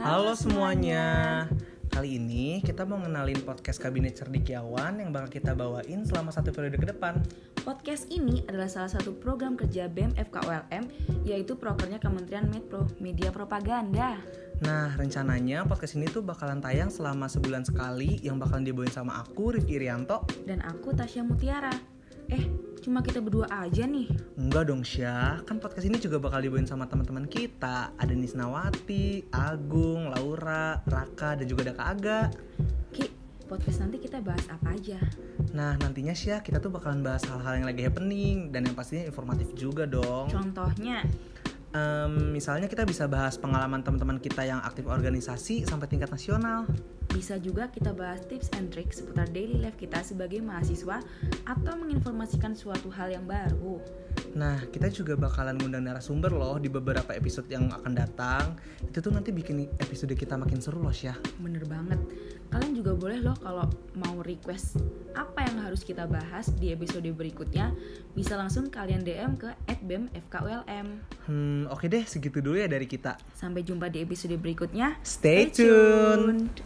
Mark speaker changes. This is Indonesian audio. Speaker 1: Halo semuanya. Kali ini kita mau ngenalin podcast Kabinet Cerdikiawan yang bakal kita bawain selama satu periode ke depan.
Speaker 2: Podcast ini adalah salah satu program kerja E BEM FKULM, yaitu prokernya Kementerian Metro Media Propaganda.
Speaker 1: Nah, rencananya podcast ini tuh bakalan tayang selama sebulan sekali yang bakalan dibawain sama aku, Rifki Irianto.
Speaker 2: Dan aku Tasya Mutiara. Eh, cuma kita berdua aja nih.
Speaker 1: Enggak dong, Syah. Kan podcast ini juga bakal dibawain sama teman-teman kita. Ada Nisnawati, Agung, Laura, Raka, dan juga ada Kak Aga.
Speaker 2: Ki, podcast nanti kita bahas apa aja?
Speaker 1: Nah, nantinya Syah, kita tuh bakalan bahas hal-hal yang lagi happening dan yang pastinya informatif juga dong.
Speaker 2: Contohnya,
Speaker 1: Em, misalnya kita bisa bahas pengalaman teman-teman kita yang aktif organisasi sampai tingkat nasional.
Speaker 2: bisa juga kita bahas tips and tricks seputar daily life kita sebagai mahasiswa atau menginformasikan suatu hal yang baru.
Speaker 1: Nah, kita juga bakalan ngundang narasumber loh di beberapa episode yang akan datang. Itu tuh nanti bikin episode kita makin seru loh, Syah.
Speaker 2: Bener banget. Kalian juga boleh loh kalau mau request apa yang harus kita bahas di episode berikutnya, bisa langsung kalian DM ke @bemfkulm.
Speaker 1: Hmm, oke deh, segitu dulu ya dari kita.
Speaker 2: Sampai jumpa di episode berikutnya.
Speaker 1: Stay tuned.